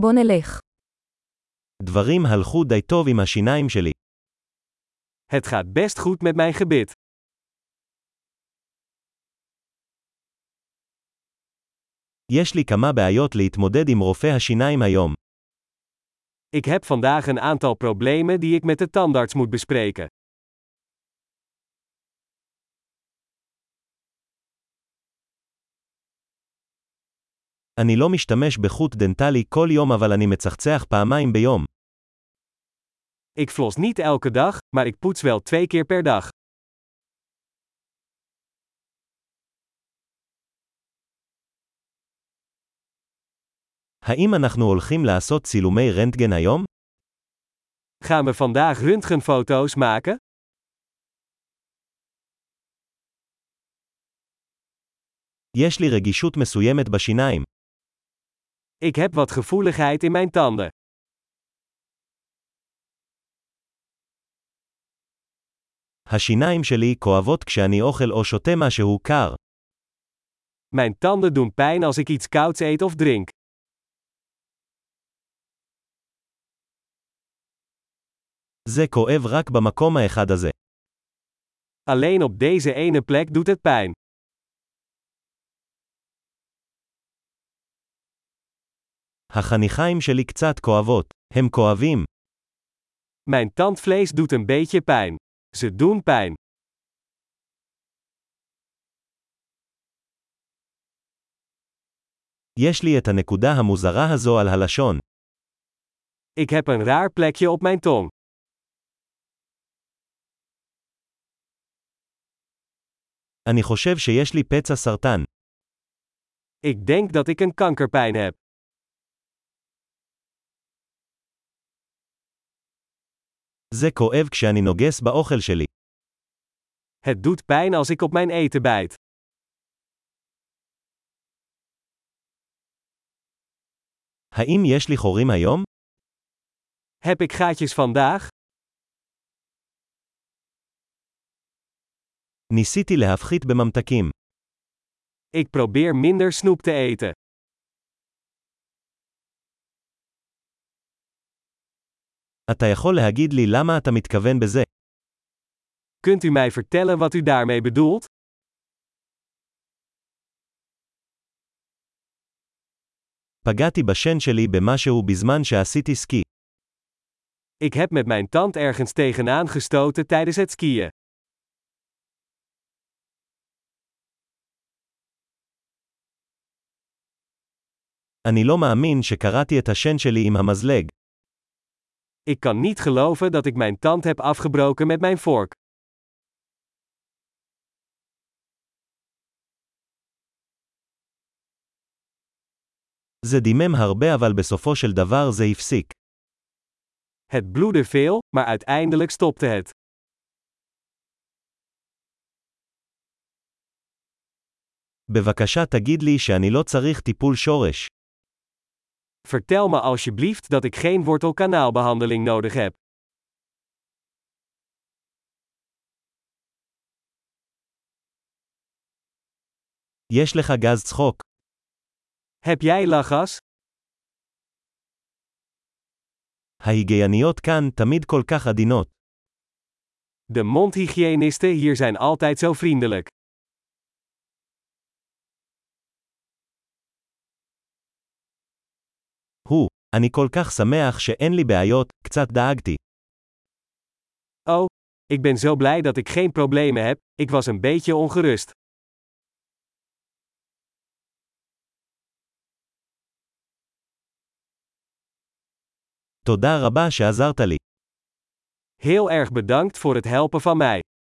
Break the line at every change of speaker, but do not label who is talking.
בוא נלך.
דברים הלכו די טוב עם השיניים שלי.
Het gaat best goed met mijn gebit.
יש לי כמה בעיות להתמודד עם רופא השיניים היום.
Ik heb vandaag een aantal problemen die ik met de tandarts moet bespreken.
אני לא משתמש בחוט דנטלי כל יום אבל אני מצחצח פעמיים ביום.
Ik flos niet elke dag, maar ik poets wel twee keer per dag.
האם אנחנו הולכים לעשות צילומי רנטגן היום?
Gaan we vandaag röntgenfoto's maken?
יש לי רגישות מסוימת בשיניים.
Ik heb wat gevoeligheid in mijn tanden.
השיניים שלי כואבות כשאני אוכל או שותה משהו קר.
Mijn tanden doen pijn als ik iets kouds eet of drink.
זה כואב רק במקום האחד הזה.
Alleen op deze ene plek doet het pijn.
החניכיים שלי קצת כואבות. הם כואבים.
Mijn tandvlees doet een beetje pijn. Ze doen pijn.
יש לי את הנקודה המוזרה הזו על הלשון.
Ik heb een raar plekje op mijn tong.
אני חושב שיש לי פצע סרטן.
Ik denk dat ik een kankerpijn heb.
זה כואב כשאני נוגס באוכל שלי.
Het doet pijn als ik op mijn eten bijt.
האם יש לי חורים היום?
Heb ik gaatjes vandaag?
ניסיתי להפחית בממתקים.
Ik probeer minder snoep te eten.
אתה יכול להגיד לי למה אתה מתכוון בזה?
Kunt u mij vertellen wat u daarmee bedoelt?
פגעתי בשן שלי במשהו בזמן שעשיתי סקי.
Ik heb met mijn tand ergens tegenaan gestoten tijdens het skiën.
אני לא מאמין שקרעתי את השן שלי עם המזלג.
Ik kan niet geloven dat ik mijn tand heb afgebroken met mijn vork.
זה דימם הרבה אבל בסופו של דבר זה הפסיק.
Het bloedde veel, maar uiteindelijk stopte het.
בבקשה תגיד לי שאני לא צריך טיפול שורש.
Vertel me alsjeblieft dat ik geen wortelkanaalbehandeling nodig heb.
יש לך גז צחוק.
Heb jij lachgas?
ההיגייניות כאן תמיד כל כך עדינות.
De mondhygiënisten hier zijn altijd zo vriendelijk.
הוא, אני כל כך שמח שאין לי בעיות, קצת דאגתי.
Oh, ik ben zo blij dat ik geen problemen heb, ik was een beetje ongerust.
תודה רבה שעזרת לי.
Heel erg bedankt voor het helpen van mij.